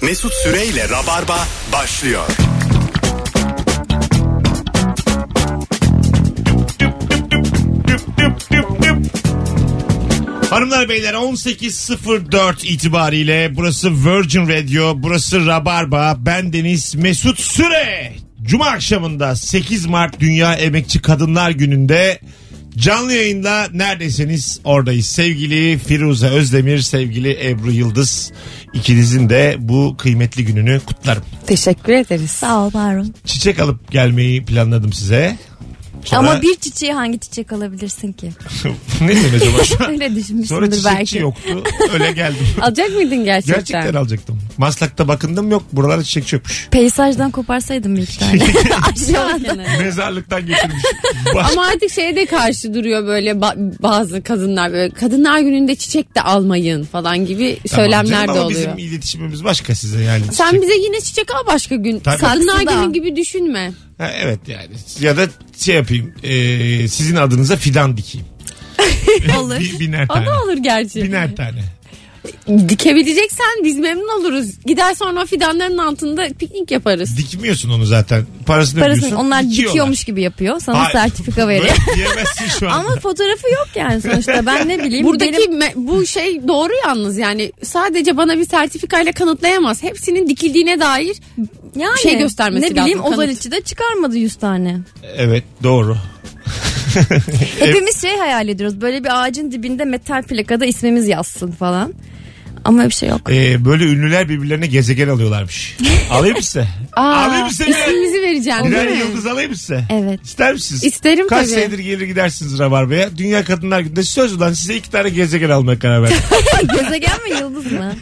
Mesut Süreyle Rabarba başlıyor. Hanımlar beyler 18.04 itibariyle burası Virgin Radio, burası Rabarba, ben Deniz Mesut Süre. Cuma akşamında 8 Mart Dünya Emekçi Kadınlar Günü'nde canlı yayında neredesiniz oradayız. Sevgili Firuze Özdemir, sevgili Ebru Yıldız ikinizin de bu kıymetli gününü kutlarım. Teşekkür ederiz. Sağ ol Harun. Çiçek alıp gelmeyi planladım size. Sonra- Ama bir çiçeği hangi çiçek alabilirsin ki? ne demek o başta? Öyle Sonra düşünmüşsündür çiçekçi belki. yoktu. Öyle geldim. Alacak mıydın gerçekten? Gerçekten alacaktım. Maslak'ta bakındım yok. Buralara çiçek çökmüş. Peysajdan koparsaydım bir iki tane. Şey- Şey- Mezarlıktan getirmiş. Bak- Ama artık şeye de karşı duruyor böyle ba- bazı kadınlar böyle kadınlar gününde çiçek de almayın falan gibi Tamam söylemler canım de ama oluyor. Bizim iletişimimiz başka size yani. Sen Çiçek- bize yine çiçek al başka gün. Tabii. Kadınlar Saksı da. günü gibi düşünme. Ha, evet yani. Ya da şey yapayım. e, sizin adınıza fidan dikeyim. Olur. Bir, biner O tane. da olur gerçi. Biner tane. Dikebileceksen biz memnun oluruz. Gider sonra fidanların altında piknik yaparız. Dikmiyorsun onu zaten. Parasını Parasını ödüyorsun. onlar dikiyorlar. dikiyormuş gibi yapıyor. Sana Hayır. sertifika veriyor. Böyle şey diyemezsin şu anda. Ama fotoğrafı yok yani sonuçta. Ben ne bileyim. Buradaki benim- me- bu şey doğru yalnız yani sadece bana bir sertifikayla kanıtlayamaz. Hepsinin dikildiğine dair yani, şey göstermesi Ne bileyim lazım, Ozan kanıt. içi de çıkarmadı 100 tane. Evet doğru. Hepimiz şey hayal ediyoruz. Böyle bir ağacın dibinde metal plakada ismimiz yazsın falan. Ama bir şey yok. E, böyle ünlüler birbirlerine gezegen alıyorlarmış. Alayım mı size? Alayım mı size? ismimizi vereceğim Birer değil mi? yıldız alayım mı size? Evet. İster misiniz? İsterim Kaç tabii. senedir gelir gidersiniz Rabarba'ya. Dünya Kadınlar Günü'nde söz ulan size iki tane gezegen almaya karar verdim. Gezegen mi yıldız mı?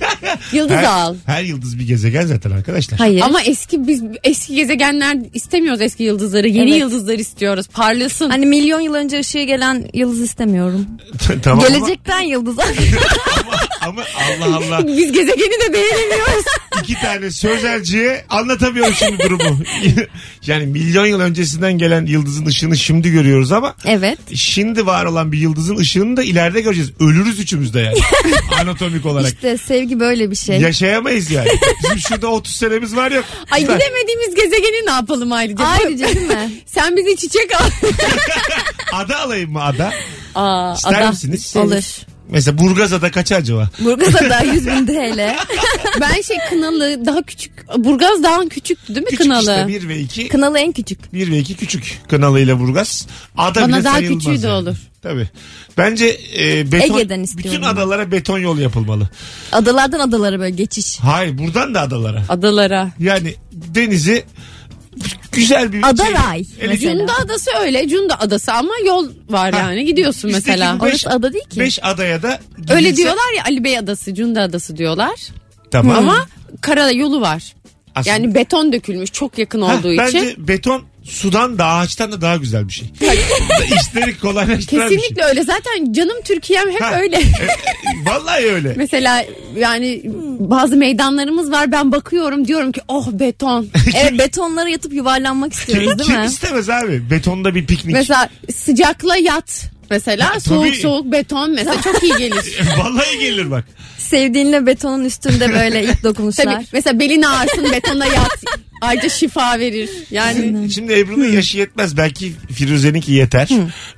Yıldız her, al. her yıldız bir gezegen zaten arkadaşlar. Hayır. Ama eski biz eski gezegenler istemiyoruz eski yıldızları. Yeni Evet. yıldızlar istiyoruz. Parlasın. Hani milyon yıl önce ışığı gelen yıldız istemiyorum. tamam ama- Gelecekten yıldız. Ama, Allah Allah. biz gezegeni de beğenemiyoruz. iki tane sözelciye anlatamıyorum şimdi durumu. yani milyon yıl öncesinden gelen yıldızın ışığını şimdi görüyoruz ama evet. şimdi var olan bir yıldızın ışığını da ileride göreceğiz. Ölürüz üçümüz de yani. Anatomik olarak. İşte sevgi böyle bir şey. Yaşayamayız yani. Bizim şurada 30 senemiz var yok. Ay Bak, gidemediğimiz gezegeni ne yapalım ayrıca? Ayrıca değil mi? Sen bize çiçek al. Ada alayım mı ada? Aa, İster ada. misiniz? Olur. Mesela Burgazada kaç acaba? Burgazada 100 bin TL. Ben şey kınalı daha küçük. Burgaz daha küçüktü değil mi Küçük kınalı? işte 1 ve 2. Kınalı en küçük. 1 ve 2 küçük. Kınalı ile Burgaz. Ada Bana bile daha sayılmaz küçüğü de yani. olur. Tabii. Bence e, beton, Ege'den istiyorum bütün ben. adalara beton yol yapılmalı. Adalardan adalara böyle geçiş. Hayır buradan da adalara. Adalara. Yani denizi güzel bir şey. Adaray mesela. Cunda adası öyle. Cunda adası ama yol var Ha. yani. Gidiyorsun Bizdeki mesela. bu beş- Orası ada değil ki. 5 adaya da Öyle gidilse- diyorlar ya Ali Bey adası, Cunda adası diyorlar. Tamam. Ama kara yolu var. Aslında- Yani beton dökülmüş çok yakın Ha, olduğu bence için. beton sudan da ağaçtan da daha güzel bir şey. İşleri kolaylaştıran bir şey. Kesinlikle öyle. Zaten canım Türkiye'm hep Ha. öyle. E, e, Vallahi öyle. Mesela yani bazı meydanlarımız var ben bakıyorum diyorum ki oh beton. Evet betonlara yatıp yuvarlanmak istiyoruz değil Kim mi? istemez abi? Betonda bir piknik. mesela sıcakla yat. Mesela soğuk tabii. soğuk beton mesela çok iyi gelir. Vallahi gelir bak. Sevdiğinle betonun üstünde böyle ilk dokunuşlar. Tabii mesela belin ağrısın betonda yat. Ayrıca şifa verir. Yani Şimdi, şimdi Ebru'nun yaşı yetmez. Belki Firuze'ninki yeter.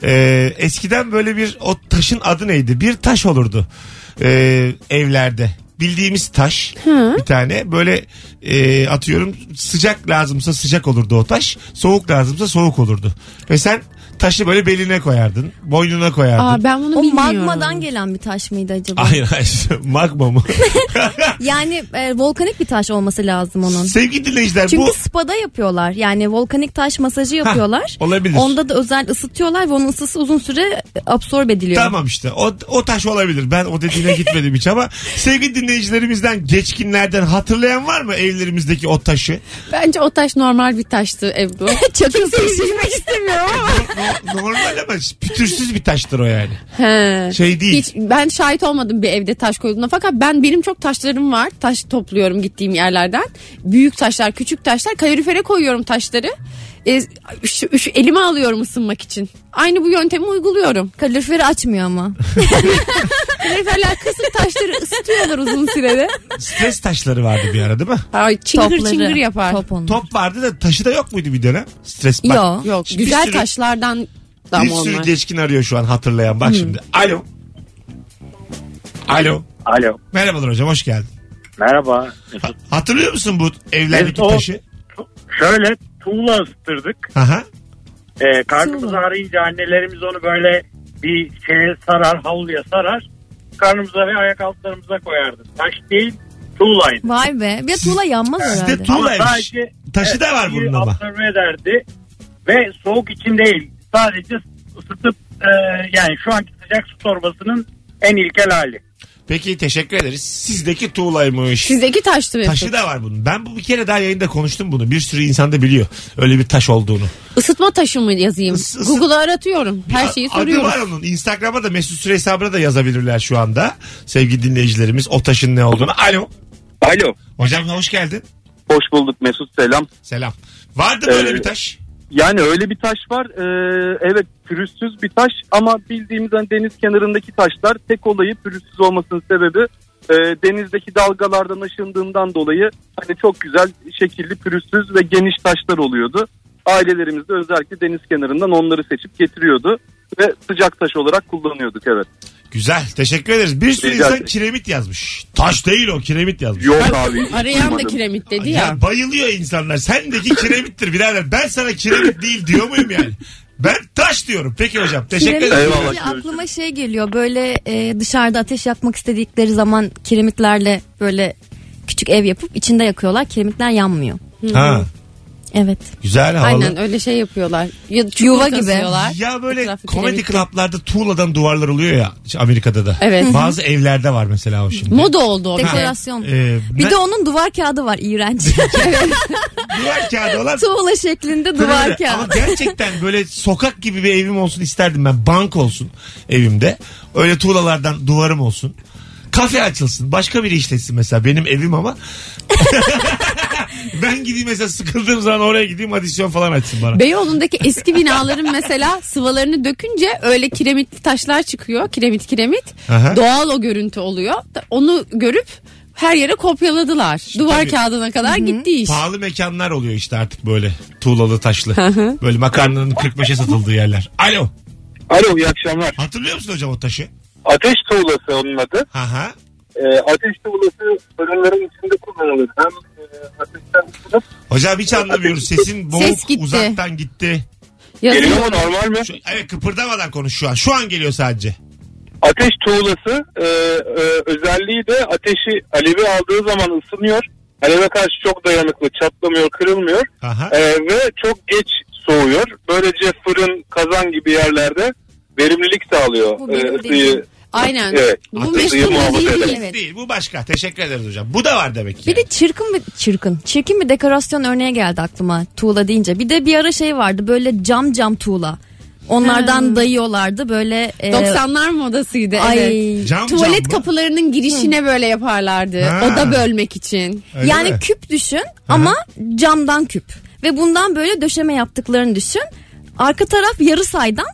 Ee, eskiden böyle bir o taşın adı neydi? Bir taş olurdu ee, evlerde. Bildiğimiz taş bir tane böyle e, atıyorum sıcak lazımsa sıcak olurdu o taş soğuk lazımsa soğuk olurdu ve sen taşı böyle beline koyardın boynuna koyardın. aa, ben bunu O bilmiyorum. magmadan gelen bir taş mıydı acaba? Hayır hayır magma mı? Yani e, volkanik bir taş olması lazım onun. Sevgili dinleyiciler Çünkü bu spada yapıyorlar. Yani volkanik taş masajı yapıyorlar. olabilir. Onda da özel ısıtıyorlar ve onun ısısı uzun süre absorbe ediliyor. Tamam işte o, o taş olabilir. Ben o dediğine gitmedim hiç ama sevgili dinleyicilerimizden geçkinlerden hatırlayan var mı evlerimizdeki o taşı? Bence o taş normal bir taştı Ebru. Çakıl taşı girmek istemiyorum ama. No- Normal ama pütürsüz bir taştır o yani. He. Şey değil. Hiç ben şahit olmadım bir evde taş koyduğuna fakat ben benim çok taşlarım var. Taş topluyorum gittiğim yerlerden. Büyük taşlar, küçük taşlar. Kalorifere koyuyorum taşları. E, şu, şu elime alıyorum ısınmak için. Aynı bu yöntemi uyguluyorum. Kaloriferi açmıyor ama. kaloriferler kısık taşları ısıtıyorlar uzun sürede. Stres taşları vardı bir ara değil mi? Ay çıngır Topları, çıngır yapar. Top onu. Top vardı da taşı da yok muydu bir dönem? Stres bak. Yok. Yok Bir güzel sürü- taşlardan da Bir mı sürü onlar? geçkin arıyor şu an hatırlayan bak Hmm. şimdi. Alo. Alo. Alo. Merhabalar hocam hoş geldin. Merhaba. Hatırlıyor musun bu evlerdeki Evet, o- taşı? Şöyle tuğla ısıtırdık. Aha. Ee, karnımız Tuğla. ağrıyınca annelerimiz onu böyle bir şeye sarar, havluya sarar. Karnımıza ve ayak altlarımıza koyardı. Taş değil, tuğlaydı. Vay be. Bir de tuğla yanmaz herhalde. Sizde tuğlaymış. sadece- Taşı da var suyu bunun ama. Absorbe ederdi. Ve soğuk için değil. Sadece ısıtıp e, yani şu anki sıcak su torbasının en ilkel hali. Peki teşekkür ederiz. Sizdeki tuğlaymış. Sizdeki taştı Mesut. Taşı da var bunun. Ben bu bir kere daha yayında konuştum bunu. Bir sürü insan da biliyor öyle bir taş olduğunu. Isıtma taşı mı yazayım? Is- ısı- Google'a aratıyorum. Her şeyi A- Adı soruyorum. var onun. Instagram'a da Mesut Süre hesabına da yazabilirler şu anda. Sevgili dinleyicilerimiz o taşın ne olduğunu. Alo. Alo. Hocam hoş geldin. Hoş bulduk Mesut selam. Selam. Vardı böyle Ee, bir taş. Yani öyle bir taş var. Ee, evet pürüzsüz bir taş ama bildiğimiz hani deniz kenarındaki taşlar tek olayı pürüzsüz olmasının sebebi e, denizdeki dalgalardan aşındığından dolayı hani çok güzel şekilli pürüzsüz ve geniş taşlar oluyordu. Ailelerimiz de özellikle deniz kenarından onları seçip getiriyordu ve sıcak taş olarak kullanıyorduk evet. Güzel. Teşekkür ederiz. Bir sürü Rica insan ederim. kiremit yazmış. Taş değil o kiremit yazmış. Yok abi. hiç Arayan da duymadım. kiremit dedi ya. Ya bayılıyor insanlar. Sendeki kiremittir birader. Ben sana kiremit değil diyor muyum yani? Ben taş diyorum. Peki hocam. Teşekkür Kiremit ederim. Eyvallah, deyince görüşürüz. aklıma şey geliyor böyle e, dışarıda ateş yakmak istedikleri zaman kiremitlerle böyle küçük ev yapıp içinde yakıyorlar kiremitler yanmıyor. Ha, Evet. güzel havalı. Aynen öyle şey yapıyorlar. Ya, Yuva Yuva gibi. gibi. Ya böyle komedi klaplarda tuğladan duvarlar oluyor ya işte Amerika'da da. Evet. Hı hı. Bazı evlerde var mesela o şimdi. Moda oldu o. bir de. Dekorasyon. Ee, bir ne- de onun duvar kağıdı var iğrenç. duvar kağıdı olan Tuğla şeklinde Böyle. duvar Ama kağıdı. gerçekten böyle sokak gibi bir evim olsun isterdim ben. Bank olsun evimde. Öyle tuğlalardan duvarım olsun. Kafe açılsın. Başka biri işletsin mesela. Benim evim ama. ben gideyim mesela sıkıldığım zaman oraya gideyim adisyon falan açsın bana. Beyoğlu'ndaki eski binaların mesela sıvalarını dökünce öyle kiremitli taşlar çıkıyor. Kiremit kiremit. Aha. Doğal o görüntü oluyor. Ta- Onu görüp her yere kopyaladılar. Duvar tabii. kağıdına kadar gitti iş. Pahalı mekanlar oluyor işte artık böyle tuğlalı taşlı. böyle makarnanın 45'e satıldığı yerler. Alo. Alo iyi akşamlar. Hatırlıyor musun hocam o taşı? Ateş tuğlası onun adı. Ha ha. Ee, ateş tuğlası fırınların içinde kullanılır. Hem e, ateşten ısınıp Hocam hiç anlamıyoruz. Sesin boğuk Ses gitti. uzaktan gitti. Yazıyor. Geliyor mu normal mi? Şu- evet kıpırdamadan konuş şu an. Şu an geliyor sadece. Ateş tuğlası e, e, özelliği de ateşi alevi aldığı zaman ısınıyor. Aleve karşı çok dayanıklı çatlamıyor kırılmıyor Aha. E, ve çok geç soğuyor. Böylece fırın kazan gibi yerlerde verimlilik sağlıyor Bu e, benim ısıyı. Aynen. Evet. Bu Ateşi Mesut'un muhafaza dediği eder. değil. Evet. Değil bu başka. Teşekkür ederiz hocam. Bu da var demek ki. Bir de çirkin bir çirkin. Çirkin bir dekorasyon örneği geldi aklıma tuğla deyince. Bir de bir ara şey vardı böyle cam cam tuğla. Onlardan dayıyorlardı böyle. e, 90'lar modasıydı. evet. Ay. Cam cam Tuvalet mı? kapılarının girişine böyle yaparlardı. Ha. Oda bölmek için. Öyle yani mi? küp düşün ama camdan küp. Ve bundan böyle döşeme yaptıklarını düşün. Arka taraf yarı saydan.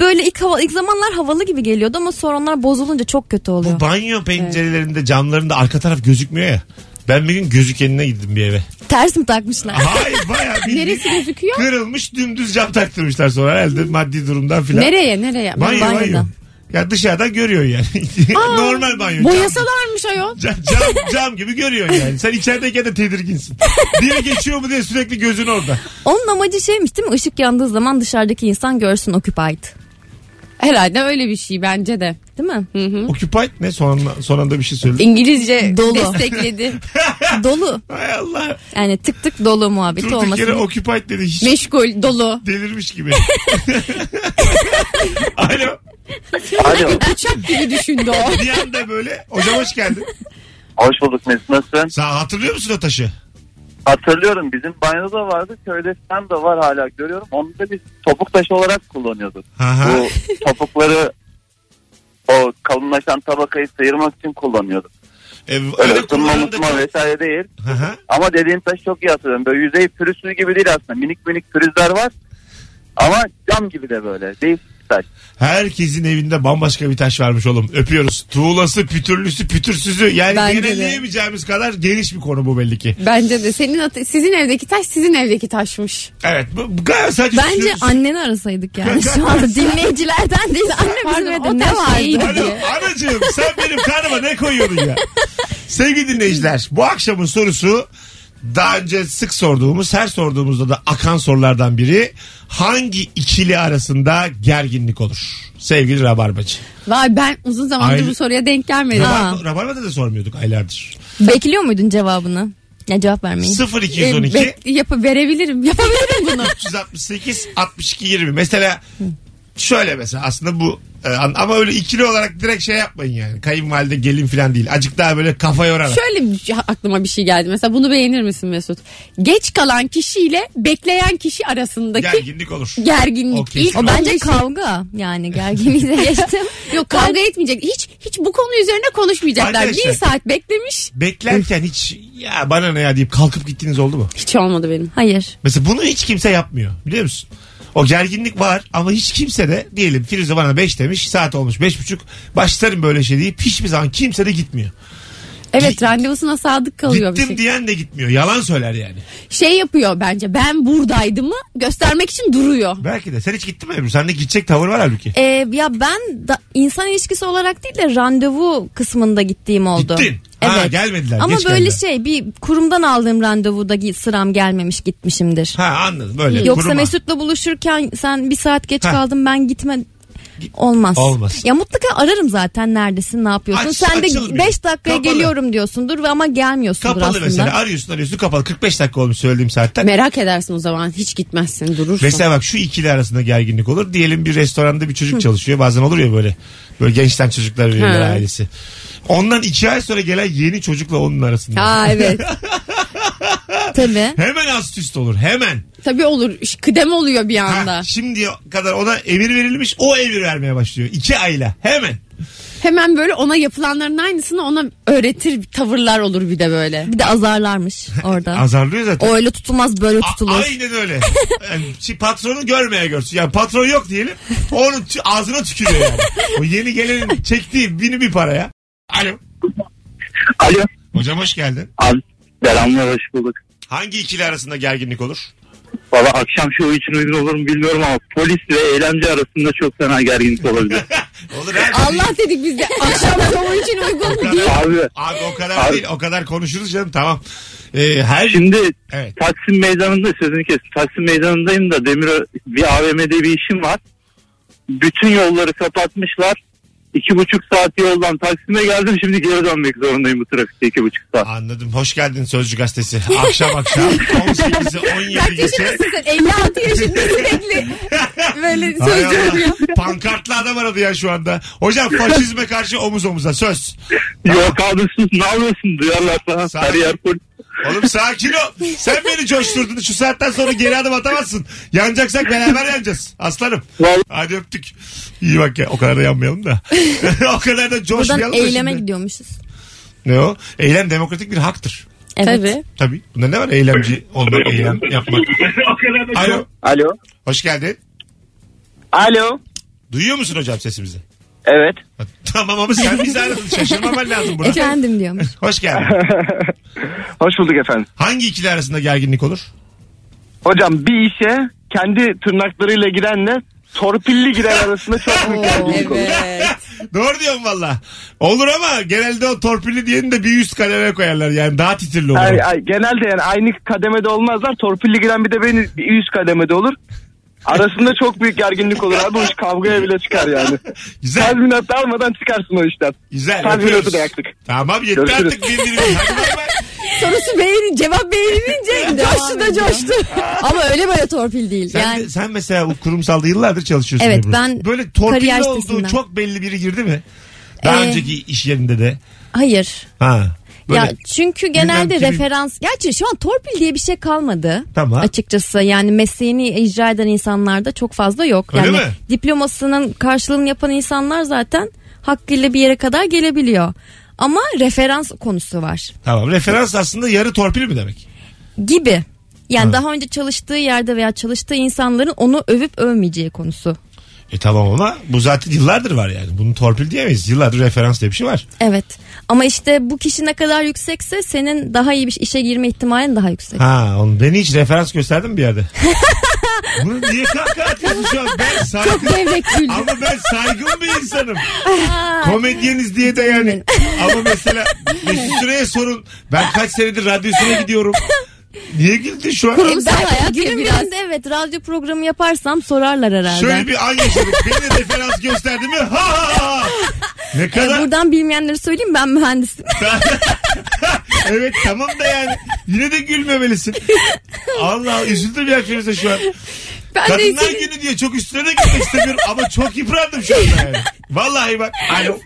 Böyle ilk, hava, ilk zamanlar havalı gibi geliyordu ama sonra onlar bozulunca çok kötü oluyor. bu banyo pencerelerinde camlarında arka taraf gözükmüyor ya. Ben bir gün gözükenine gittim bir eve. Ters mi takmışlar? Hayır bayağı bir Neresi gözüküyor? kırılmış dümdüz cam taktırmışlar sonra herhalde maddi durumdan filan. Nereye nereye? Banyo Banyodan. banyo. Ya dışarıdan görüyorsun yani. Normal banyo. Cam- Boyasalarmış ayol. Cam, cam, cam gibi görüyorsun yani. Sen içerideyken de tedirginsin. Biri geçiyor mu diye sürekli gözün orada. Onun amacı şeymiş değil mi? Işık yandığı zaman dışarıdaki insan görsün occupied. Herhalde öyle bir şey bence de. Değil mi? Occupied ne? Son, son anda bir şey söyle. İngilizce Dolu. destekledi. dolu. Hay Allah. Yani tık tık dolu muhabbeti Durduk yere olmasın. occupied dedi. Hiç Meşgul, dolu. delirmiş gibi. Alo. Alo Uçak gibi düşündü o. Bir anda böyle. Hocam hoş geldin. hoş bulduk Mesut nasılsın? Sağ hatırlıyor musun o taşı? Hatırlıyorum bizim banyoda da vardı köyde sen de var hala görüyorum. Onu da biz topuk taşı olarak kullanıyorduk. Aha. Bu topukları o kalınlaşan tabakayı sıyırmak için kullanıyorduk. Ee, Öyle öyle ısınma kullanılan da mısma çok- vesaire değil. Aha. Ama dediğin taş çok iyi hatırlıyorum. Böyle yüzey pürüzsüz gibi değil aslında. Minik minik pürüzler var. Ama cam gibi de böyle. Değişik taş. Herkesin evinde bambaşka bir taş varmış oğlum. Öpüyoruz. Tuğlası, pütürlüsü, pütürsüzü. Yani Bence de. genelleyemeyeceğimiz kadar geniş bir konu bu belli ki. Bence de senin ate- sizin evdeki taş sizin evdeki taşmış. Evet. Bu, bu gayet sadece Bence sü- sü- anneni arasaydık yani şu anda dinleyicilerden değil. Anne bizim Pardon, o evde ne taş neydi? vardı? Alo, anacığım sen benim karnıma ne koyuyordun ya? Sevgili dinleyiciler bu akşamın sorusu daha önce sık sorduğumuz her sorduğumuzda da akan sorulardan biri hangi ikili arasında gerginlik olur? Sevgili Rabarbacı. Vay ben uzun zamandır Aynı- bu soruya denk gelmedim. Ha. Rabar- Rabarba'da da sormuyorduk aylardır. Bekliyor muydun cevabını? Ya cevap vermeyin. 0212 E, Bek- yapı verebilirim. Yapabilirim bunu. 368 62 20. Mesela şöyle mesela aslında bu e, an- ama öyle ikili olarak direkt şey yapmayın yani. Kayınvalide gelin falan değil. Acık daha böyle kafa yorarak. Şöyle bir- aklıma bir şey geldi. Mesela bunu beğenir misin Mesut? Geç kalan kişiyle bekleyen kişi arasındaki Gerginlik olur. gerginlik. Okey. İlk O bence anlayışı- kavga yani gerginliği de geçtim. Yok kavga etmeyecek. Hiç hiç bu konu üzerine konuşmayacaklar. Arkadaşlar- Bir saat beklemiş. Beklerken hiç ya bana ne ya deyip kalkıp gittiğiniz oldu mu? Hiç olmadı benim. Hayır. Mesela bunu hiç kimse yapmıyor biliyor musun? O gerginlik var ama hiç kimse de diyelim Firuze bana 5 demiş saat olmuş beş buçuk başlarım böyle şey deyip hiçbir zaman kimse de gitmiyor. Evet Gi- randevusuna sadık kalıyor bir Gittim şey. diyen de gitmiyor yalan söyler yani. Şey yapıyor bence ben buradaydımı göstermek için duruyor. Belki de sen hiç gittin mi Ebru? Sende gidecek tavır var halbuki. Ee, ya ben da, insan ilişkisi olarak değil de randevu kısmında gittiğim oldu. Gittin. Evet. Ha, gelmediler. Ama geç böyle geldiler. şey bir kurumdan aldığım randevuda gi- sıram gelmemiş gitmişimdir. Ha anladım böyle. Yoksa kuruma. Mesut'la buluşurken sen bir saat geç Ha. kaldın ben gitme olmaz. Olmaz. Ya mutlaka ararım zaten neredesin ne yapıyorsun. Aç- sen açılmıyor. de 5 dakikaya Kapalı. geliyorum diyorsundur ve ama gelmiyorsundur Kapalı aslında. mesela arıyorsun arıyorsun kapalı 45 dakika olmuş söylediğim saatten. Merak edersin o zaman hiç gitmezsin durursun. Mesela bak şu ikili arasında gerginlik olur. Diyelim bir restoranda bir çocuk çalışıyor. Bazen olur ya böyle. Böyle gençten çocuklar veriyorlar Ha. ailesi. Ondan iki ay sonra gelen yeni çocukla onun arasında. Ha evet. Tabii. Hemen ast üst olur. Hemen. Tabii olur. İş- Kıdem oluyor bir anda. Ha, şimdiye kadar ona emir verilmiş. O emir vermeye başlıyor. İki ayla. Hemen. Hemen böyle ona yapılanların aynısını ona öğretir tavırlar olur bir de böyle. Bir de azarlarmış orada. Azarlıyor zaten. o öyle tutulmaz böyle A- tutulur. Aynen öyle. Yani şey, patronu görmeye görsün. Yani patron yok diyelim. Onun tü- ağzına tükürüyor yani. O yeni gelenin çektiği bini bir paraya. Alo. Alo. Hocam hoş geldin. Abi selamlar hoş bulduk. Hangi ikili arasında gerginlik olur? Valla akşam şovu için uygun olur mu bilmiyorum ama polis ve eğlence arasında çok fena gerginlik olabilir. Olur her Allah dedik biz de akşam şovu için uygun mu değil. Abi Abi o kadar Abi- değil. O kadar konuşuruz canım. Tamam. Ee, her şimdi Evet. Taksim meydanında sözünü kestim. Taksim meydanındayım da Demir bir AVM'de bir işim var. Bütün yolları kapatmışlar. İki buçuk saat yoldan Taksim'e geldim şimdi geri dönmek zorundayım bu trafikte iki buçuk saat. Anladım. Hoş geldin Sözcü Gazetesi. Akşam akşam 18'i 17 geçe. Yaşındasın sen 56 yaşında sürekli böyle Hay Allah. sözcü oluyor. Pankartlı adam aradı ya şu anda. Hocam faşizme karşı omuz omuza söz. Yok abi sus ne yapıyorsun duyarlar sana. Sağ- Her yer polis. Oğlum sakin ol. Sen beni coşturdun. Şu saatten sonra geri adım atamazsın. Yanacaksak beraber yanacağız. Aslanım. Vallahi- Hadi öptük. İyi bak ya. O kadar da yanmayalım da. o kadar da coşmayalım Buradan da eyleme şimdi. gidiyormuşuz. Ne o? Eylem demokratik bir haktır. Evet. Tabii. Tabii. Bunda ne var? Eylemci olmak, eylem yapmak. Alo. Alo. Hoş geldin. Alo. Duyuyor musun hocam sesimizi? Evet. tamam ama sen bizi aradın. Şaşırmaman lazım buna. Efendim diyormuş. Hoş geldin. Hoş bulduk efendim. Hangi ikili arasında gerginlik olur? Hocam bir işe kendi tırnaklarıyla girenle torpilli giren arasında çok büyük gerginlik olur. Evet. Doğru diyorum valla. Olur ama genelde o torpilli diyeni de bir üst kademe koyarlar. Yani daha titirli olur. Ay, ay, genelde yani aynı kademede olmazlar. Torpilli giren bir de beni bir üst kademede olur. Arasında çok büyük gerginlik olur abi. O iş kavgaya bile çıkar yani. Güzel. Tazminat da almadan çıkarsın o işten. Güzel. Tazminatı öpüyoruz. da yaktık. Tamam yetti Görüşürüz. artık birbirimiz. Hadi bay bay. Sorusu beğeni, cevap beğenilince coştu da coştu. Ama öyle böyle torpil değil. Sen, yani de- sen mesela bu kurumsalda yıllardır çalışıyorsun. Evet, Ebru. ben Böyle kariyer torpilli olduğu sitesinden. çok belli biri girdi mi? Daha Ee, önceki iş yerinde de. hayır. Ha. Böyle ya çünkü genelde kimin- referans gerçi şu an torpil diye bir şey kalmadı. Tamam. Açıkçası yani mesleğini icra eden insanlarda çok fazla yok. Öyle yani mi? diplomasının karşılığını yapan insanlar zaten hakkıyla bir yere kadar gelebiliyor. Ama referans konusu var Tamam referans aslında yarı torpil mi demek? gibi. Yani Ha. daha önce çalıştığı yerde veya çalıştığı insanların onu övüp övmeyeceği konusu. E tamam ama bu zaten yıllardır var yani. Bunu torpil diyemeyiz. Yıllardır referans diye bir şey var. Evet. Ama işte bu kişi ne kadar yüksekse senin daha iyi bir işe girme ihtimalin daha yüksek. Ha onu beni hiç referans gösterdin mi bir yerde? Bunu niye kahkaha atıyorsun şu an? Ben saygı... Devrek güldü. Ama ben saygın bir insanım. Komedyeniz diye de yani. Ama mesela Mesut Süre'ye sorun. Ben kaç senedir radyosuna gidiyorum. Niye güldün şu an? Kurumsal Belki hayat ya E, günün biraz. birinde evet radyo programı yaparsam sorarlar herhalde. Şöyle bir an yaşadık. Beni referans gösterdi mi? Ha ha ha. Ne Ee, kadar? Buradan bilmeyenleri söyleyeyim ben mühendisim. evet tamam da yani. Yine de gülmemelisin. Allah üzüldüm ya Firuze şu an. Ben de Kadınlar senin- günü diye çok üstüne de gitmek istemiyorum ama çok yıprandım şu anda yani. Vallahi bak. Alo.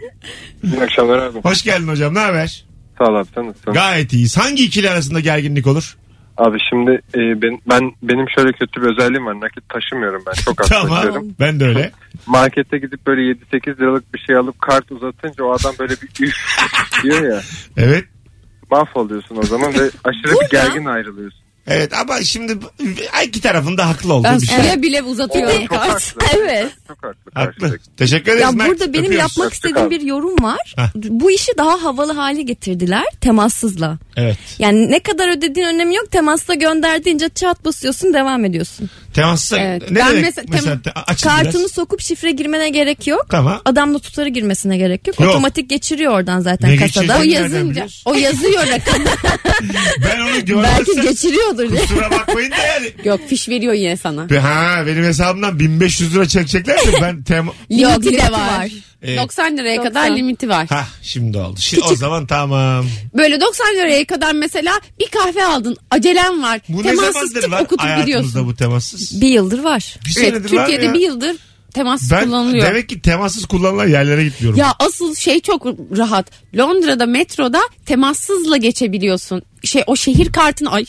İyi akşamlar abi. Hoş geldin hocam ne haber? Sağ ol abi sen nasılsın? Gayet iyiyiz. Hangi ikili arasında gerginlik olur? Abi şimdi e, ben, ben benim şöyle kötü bir özelliğim var. Nakit taşımıyorum ben. Çok az taşıyorum. Tamam. Ben de öyle. Markete gidip böyle 7-8 liralık bir şey alıp kart uzatınca o adam böyle bir üf diyor ya. Evet. Mahvoluyorsun o zaman ve aşırı Burada- bir gergin ayrılıyorsun. Evet ama şimdi bu- iki tarafın da haklı olduğu Ben bir şey. suya bile uzatıyorum Çok kart. haklı. evet. Çok haklı. Haklı. karşıdaki. Teşekkür ederiz. Ya Mert. burada benim Öpüyoruz. yapmak istediğim bir yorum var. Hah. Bu işi daha havalı hale getirdiler temassızla. Evet. Yani ne kadar ödediğin önemi yok. Temasla gönderdiğince çat basıyorsun devam ediyorsun. Temaslı. Evet. Ne Ben demek mesela- mesela? tem- te- açın Kartını biraz. sokup şifre girmene gerek yok. Tamam. Adam da tutarı girmesine gerek yok. Yok. Otomatik geçiriyor oradan zaten Ne kasada. geçirsin? O Nereden yazınca. biliyorsun? O yazıyor rakamı. Ben onu Belki görmezsem geçiriyordur diye. kusura bakmayın da yani. Yok fiş veriyor yine sana. Be- Ha benim hesabımdan 1500 lira çekecekler de ben tem... Limiti Yok, de limiti var. var. Evet. 90 liraya 90. kadar limiti var. Ha şimdi oldu. Şimdi o zaman tamam. Böyle 90 liraya kadar mesela bir kahve aldın. Acelen var. Bu ne temassız zamandır tık var okutup gidiyorsun. hayatımızda bu temassız? Bir yıldır var. Bir Evet, senedir var Şey, Türkiye'de ya. bir yıldır temassız ben kullanılıyor. demek ki temassız kullanılan yerlere gitmiyorum. Ya asıl şey çok rahat. Londra'da metroda temassızla geçebiliyorsun. Şey o şehir kartını ay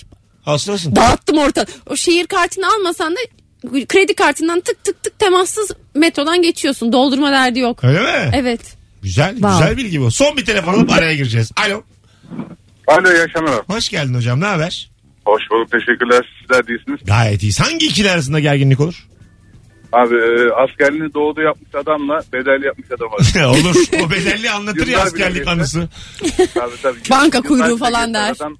Olsun olsun. dağıttım orta. O şehir kartını almasan da kredi kartından tık tık tık temassız metrodan geçiyorsun. Doldurma derdi yok. Öyle mi? Evet. Güzel, güzel bilgi bu. Son bir telefon alıp araya gireceğiz. Alo. Alo iyi akşamlar. Hoş geldin hocam. Ne haber? Hoş bulduk teşekkürler. Sizler değilsiniz. Gayet iyiyiz. Hangi ikili arasında gerginlik olur? Abi e, askerliğini doğuda yapmış adamla bedel yapmış adam var. olur. O bedelli anlatır ya Yıllar bile askerlik geçse. anısı. Tabii, tabii. Banka Yıllar kuyruğu geçen falan der. adam,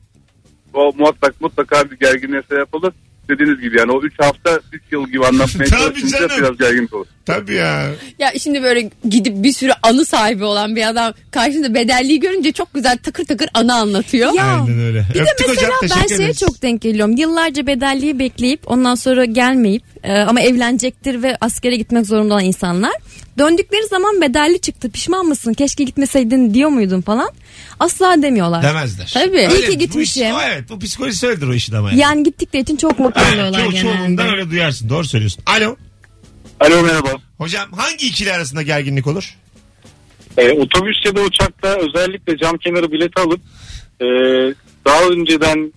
O muhakkak mutlaka bir gerginliğe sebep olur. Dediğiniz gibi yani o 3 hafta 3 yıl gibi anlatmaya Tabii çalışınca canım. biraz gerginlik olur. Tabii ya. Ya şimdi böyle gidip bir sürü anı sahibi olan bir adam karşında bedelliği görünce çok güzel takır takır anı anlatıyor. Ya Aynen öyle. Bir de Öptük mesela hocam. ben Teşekkür şeye ederiz. çok denk geliyorum. Yıllarca bedelliği bekleyip ondan sonra gelmeyip e, ama evlenecektir ve askere gitmek zorunda olan insanlar. Döndükleri zaman bedelli çıktı pişman mısın keşke gitmeseydin diyor muydun falan. Asla demiyorlar. Demezler. Tabii. Öyle, İyi ki bu iş- gitmişim. o evet bu psikolojisi öyledir o işin ama yani. Yani gittikleri için çok mutlu oluyorlar Çok genelde. çoğundan öyle duyarsın. Doğru söylüyorsun. Alo. Alo merhaba. Hocam hangi ikili arasında gerginlik olur? Ee, otobüs ya da uçakta özellikle cam kenarı bileti alıp e, daha önceden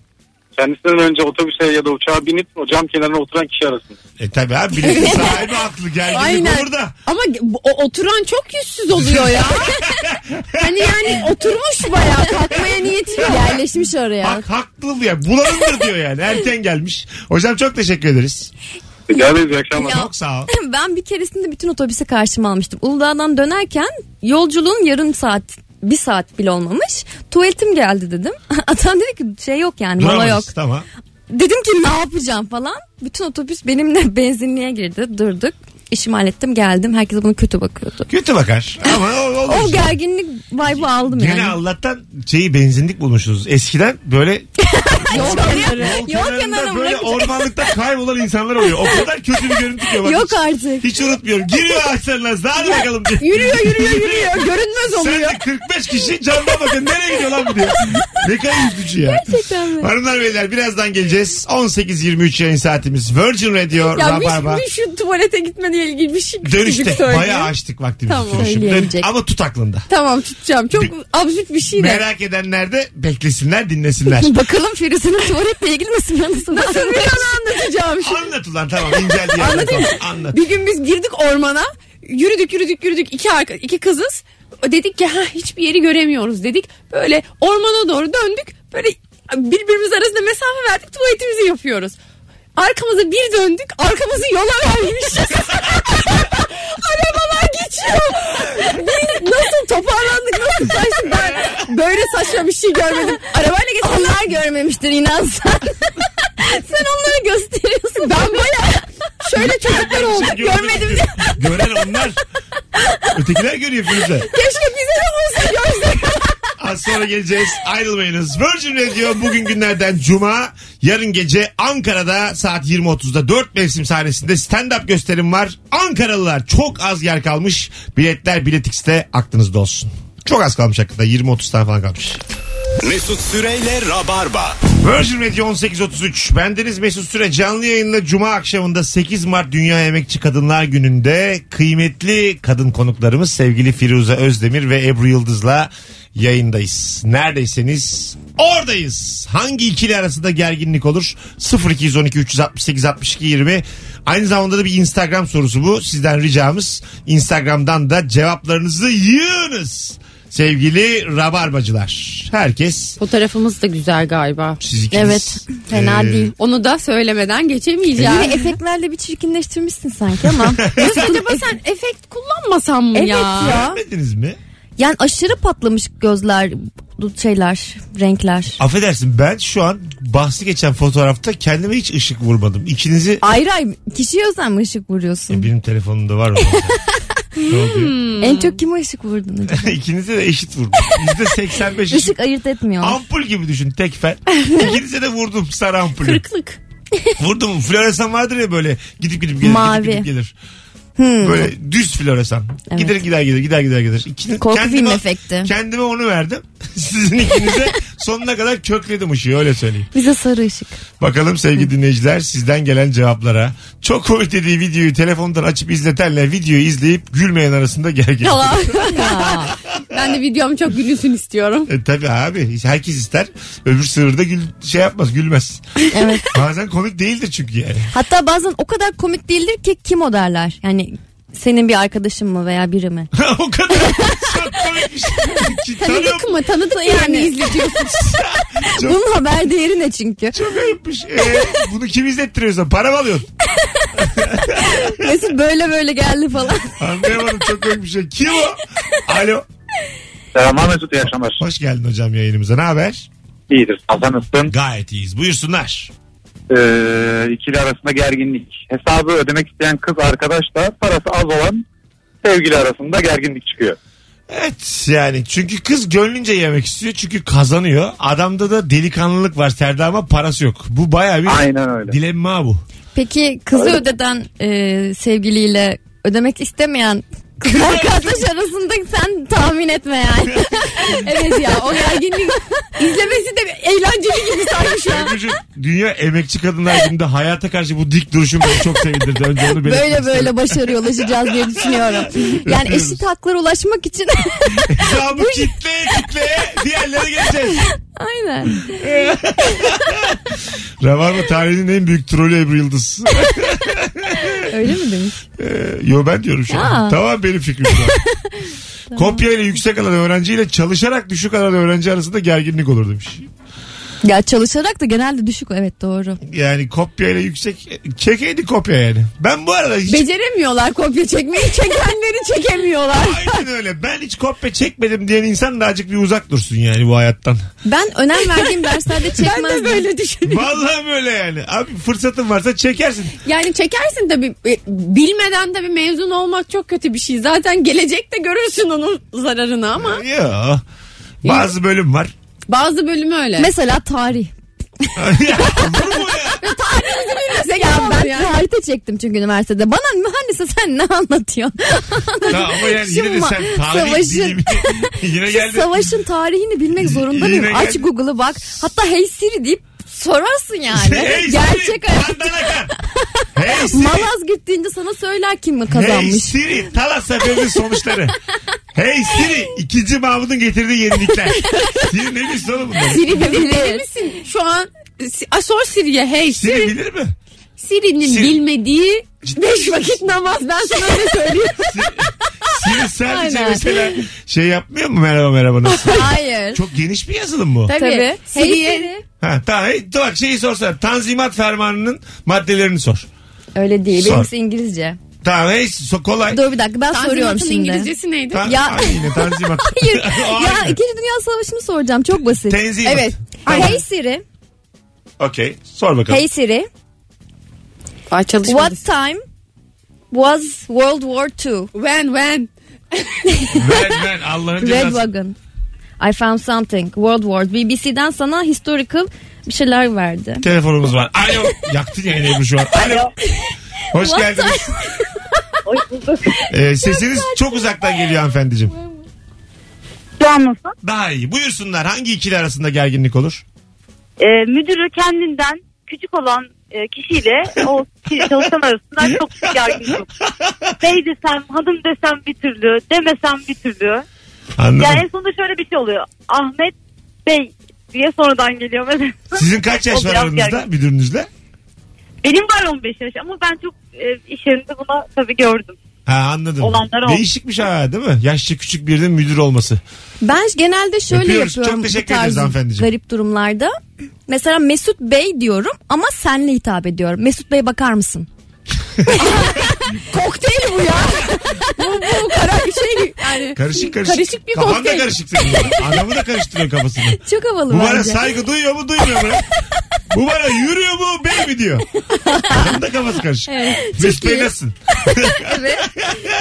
kendisinden önce otobüse ya da uçağa binip o cam kenarına oturan kişi arasında. E tabii abi biletin sahibi haklı gerginlik Aynen. olur da. Ama bu- o, oturan çok yüzsüz oluyor ya. hani yani oturmuş bayağı kalkmaya niyeti yok. Yerleşmiş oraya. Hak, haklı ya. Bulanındır diyor yani. Erken gelmiş. Hocam çok teşekkür ederiz. Rica ederiz E, iyi akşamlar. Ya. Çok sağ ol. ben bir keresinde bütün otobüsü karşıma almıştım. Uludağ'dan dönerken yolculuğun yarım saat bir saat bile olmamış. Tuvaletim geldi dedim. Adam dedi ki şey yok yani mola yok. Duramayız. Tamam. Dedim ki ne yapacağım falan. Bütün otobüs benimle benzinliğe girdi. Durduk. İşimi hallettim geldim. Herkes bana kötü bakıyordu. Kötü bakar. Ama o, olur. O gerginlik vibe'ı aldım Gene yani. Allah'tan şeyi benzinlik bulmuşsunuz. Eskiden böyle Yol kenarı. yol Yol kenarında kenarı böyle bırakacak. ormanlıkta kaybolan insanlar oluyor. O kadar kötü bir görüntü ki. Bak, Yok hiç- artık. Hiç unutmuyorum. Giriyor ağaçların arasına. Hadi bakalım. diyor. Yürüyor yürüyor yürüyor. Görünmez Sen oluyor. de 45 kişi camdan bakın. Nereye gidiyor lan bu diyor. Ne kadar üzücü ya. Gerçekten mi? Hanımlar beyler birazdan geleceğiz. 18.23 yayın saatimiz. Virgin Radio Ya bir, Rabarba. bir şu tuvalete gitme diye ilgili bir şey Dönüşte küçücük söyleyeyim. bayağı açtık vaktimizi. Tamam. Dönüşüm. Söyleyemeyecek. Ama tut aklında. Tamam tutacağım. Çok absürt bir şey de. Merak edenler de beklesinler dinlesinler. Bakalım Firuze'nin tuvaletle ilgili misin? Ben nasıl Nasıl bir anı anlatacağım şimdi. Anlat ulan tamam inceldi. Anlatayım mı? Anlat. Bir gün biz girdik ormana. Yürüdük yürüdük yürüdük. iki, arka, iki kızız. Dedik ki ha, hiçbir yeri göremiyoruz dedik. Böyle ormana doğru döndük. Böyle birbirimiz arasında mesafe verdik. Tuvaletimizi yapıyoruz. Arkamıza bir döndük. Arkamızı yola vermişiz. geçiyor. Biz nasıl toparlandık nasıl taştık ben böyle saçma bir şey görmedim. Arabayla geçtim. Onlar görmemiştir inan sen. sen onlara gösteriyorsun. şey Ben böyle şöyle çocuklar oldu. Görmedim. Görmedim. Gören onlar. Ötekiler görüyor Firuze. Keşke bize de olsa görsek. Az sonra geleceğiz. Ayrılmayınız. Virgin Radio bugün günlerden cuma. Yarın gece Ankara'da saat 20.30'da 4 mevsim sahnesinde stand-up gösterim var. Ankaralılar çok az yer kalmış. Biletler biletikste aklınızda olsun. Çok az kalmış hakikaten. 20-30 tane falan kalmış. Mesut Süreyle Rabarba. Virgin Radio 18.33. Bendeniz Mesut Süre canlı yayınla Cuma akşamında 8 Mart Dünya Emekçi Kadınlar Günü'nde kıymetli kadın konuklarımız sevgili Firuze Özdemir ve Ebru Yıldız'la yayındayız. Neredeyseniz oradayız. Hangi ikili arasında gerginlik olur? 0212 368 62 20. Aynı zamanda da bir Instagram sorusu bu. Sizden ricamız Instagram'dan da cevaplarınızı yığınız. Sevgili rabarbacılar. Herkes Fotoğrafımız da güzel galiba. siz ikiniz. Evet, fena Ee, değil. Onu da söylemeden geçemeyeceğim. Yine efektlerle bir çirkinleştirmişsin sanki ama. Mesut acaba sen efekt kullanmasan mı evet ya? ya. Beğenmediniz mi? Yani aşırı patlamış gözler, şeyler, renkler. Affedersin ben şu an bahsi geçen fotoğrafta kendime hiç ışık vurmadım. İkinizi Ayrı ayrı kişiye özen mi ışık E, vuruyorsun? benim telefonumda var o. ne oluyor? En çok kime ışık vurdun acaba? İkinize de eşit vurdum. Yüzde 85 ışık. Hmm. Işık ayırt etmiyor. Ampul gibi düşün tek fel. İkinize de vurdum sarı ampulü. Kırıklık. vurdum. Floresan vardır ya böyle gidip gidip gelir. Mavi. Hmm. Gidip, gidip gelir. Böyle düz floresan. Gider gider gider gider gider gider. İkiniz, Korku film efekti. Kendime onu verdim. Sizin ikinize sonuna kadar kökledim ışığı öyle söyleyeyim. Bize sarı ışık. Bakalım sevgili dinleyiciler sizden gelen cevaplara. Çok komik dediği videoyu telefondan açıp izletenle videoyu izleyip gülmeyen arasında gergin. Yalan. ben de videom çok gülünsün istiyorum. E, tabii abi herkes ister. Öbür sırrı gül, şey yapmaz gülmez. Evet. Bazen komik değildir çünkü yani. Hatta bazen o kadar komik değildir ki kim o derler. Yani senin bir arkadaşın mı veya biri mi? o kadar çok komik bir şey. Ki Hani tanıyorum, Tanıdık mı? Tanıdık yani izletiyorsun. Çok- Bunun haber değeri ne çünkü? Çok ayıpmış. E, bunu kim izlettiriyorsa para mı alıyorsun? Mesut böyle böyle geldi falan. Anlayamadım çok komik bir şey. Kim o? Alo. Selamlar Mesut iyi akşamlar. Hoş geldin hocam yayınımıza. Ne haber? İyidir. Hasan ısın. Gayet iyiyiz. Buyursunlar. Ee, ikili arasında gerginlik. Hesabı ödemek isteyen kız arkadaşla parası az olan sevgili arasında gerginlik çıkıyor. Evet yani çünkü kız gönlünce yemek istiyor çünkü kazanıyor. Adamda da delikanlılık var Serdar ama parası yok. Bu baya bir Aynen öyle. dilemma bu. Peki kızı ödeden e, sevgiliyle ödemek istemeyen kız arkadaş arasında sen tahmin etme yani. evet ya o gerginlik izlemesi de eğlenceli gibi sanki şu an. Ebru'cum, Dünya emekçi kadınlar gününde hayata karşı bu dik duruşun beni çok sevindirdi. Önce onu belirtmek böyle isterim. böyle başarıya ulaşacağız diye düşünüyorum. Yani Öpüyoruz. eşit haklara ulaşmak için. Hesabı kitleye kitleye diğerlere geleceğiz. Aynen. Rabarba tarihinin en büyük trolü Ebru Yıldız. Öyle mi demiş? Ee, yo ben diyorum şu an. Aa. Tamam benim fikrim şu an. Kopya ile yüksek alan öğrenciyle çalışarak düşük alan öğrenci arasında gerginlik olur demiş. Ya çalışarak da genelde düşük. Evet doğru. Yani kopya ile yüksek çekeydi kopya yani. Ben bu arada hiç Beceremiyorlar kopya çekmeyi. Çekenleri çekemiyorlar. aynen öyle. Ben hiç kopya çekmedim diyen insan da azıcık bir uzak dursun yani bu hayattan. Ben önem verdiğim derslerde çekmezdim. Ben de böyle düşünüyorum. Vallahi böyle yani. Abi fırsatın varsa çekersin. Yani çekersin tabii. E, Bilmeden tabii mezun olmak çok kötü bir şey. Zaten gelecekte görürsün onun zararını ama Yo. Bazı bölüm var. bazı bölümü öyle. Mesela tarih. Olur mu ya? Mesela Ya ben harita çektim çünkü üniversitede. Bana mühendise sen ne anlatıyorsun? Tamam ama yani yine de Şu sen ma- tarih savaşın- dilimi. yine geldi. Savaşın tarihini bilmek zorunda Yine mıyım? Aç geldi. Google'ı bak. Hatta Hey Siri deyip sorarsın yani. Hey Siri, Gerçek hayat. Bandana kan. Hey Siri. Malazgirt deyince sana söyler kim mi Hey kazanmış. Siri. Talas seferinin sonuçları. Hey Siri. ikinci Mahmut'un getirdiği yenilikler. Siri ne bilsin oğlum bunları? Siri bilir. misin? Şu an Si- A, sor Siri'ye hey Siri Siri. bilir mi? Siri'nin Siri. bilmediği beş vakit namaz ben sana öyle söyleyeyim. Siri sadece Aynen. mesela şey yapmıyor mu merhaba merhaba nasıl? Hayır. Çok geniş bir yazılım bu. Tabii. Tabii. Hey Siri'ye- Siri. Ha, tamam. Hey, Bak şeyi sorsana. Tanzimat fermanının maddelerini sor. Öyle değil. Sor. Benimkisi İngilizce. Tamam neyse so- kolay. Dur bir dakika ben soruyorum Tanzimat'ın şimdi. İngilizcesi neydi? Ta- Ya- Ay, yine tanzimat. Hayır. O ya aynı. İkinci Dünya Savaşı'nı soracağım. Çok basit. Tenzimat. Evet. Tamam. Hey Siri. Okey. Sor bakalım. Hey Siri. Ay çalışmadı. What time was World War II? When when? Ver ver Allah'ın Red cezası. Wagon. I found something. World War. BBC'den sana historical bir şeyler verdi. Telefonumuz var. Alo. Yaktın yayını Ebru şu an. Alo. Hoş What geldiniz. time- Ee, sesiniz çok uzaktan geliyor hanımefendiciğim. Şu an nasıl? Daha iyi. Buyursunlar. Hangi ikili arasında gerginlik olur? Ee, müdürü kendinden küçük olan e, kişiyle o kişi çalışan arasında çok büyük gerginlik. Bey desem, hanım desem bir türlü, demesem bir türlü. Anladım. Yani en sonunda şöyle bir şey oluyor. Ahmet Bey diye sonradan geliyor mesela. Sizin kaç yaş O var biraz aranızda gergin. müdürünüzle? Benim var 15 yaş ama ben çok e, iş yerinde bunu tabii gördüm. Ha anladım. Olanlar oldu. Değişikmiş ha değil mi? Yaşça küçük birinin müdür olması. Ben genelde şöyle Öpüyoruz. Çok yapıyorum. teşekkür bu tarz ederiz hanımefendiciğim. Garip durumlarda. Mesela Mesut Bey diyorum ama senle hitap ediyorum. Mesut Bey bakar mısın? Kokteyl bu ya. bu bu kara şey yani. Karışık karışık. Karışık bir Kafan da kokteyl. karışık senin. Adamı da karıştırıyor kafasını. Çok havalı Bu bana bence. saygı duyuyor mu duymuyor mu? lan? Bu bana yürüyor mu bey mi diyor. Adamın da kafası karışık. Evet, Mesut Bey nasılsın?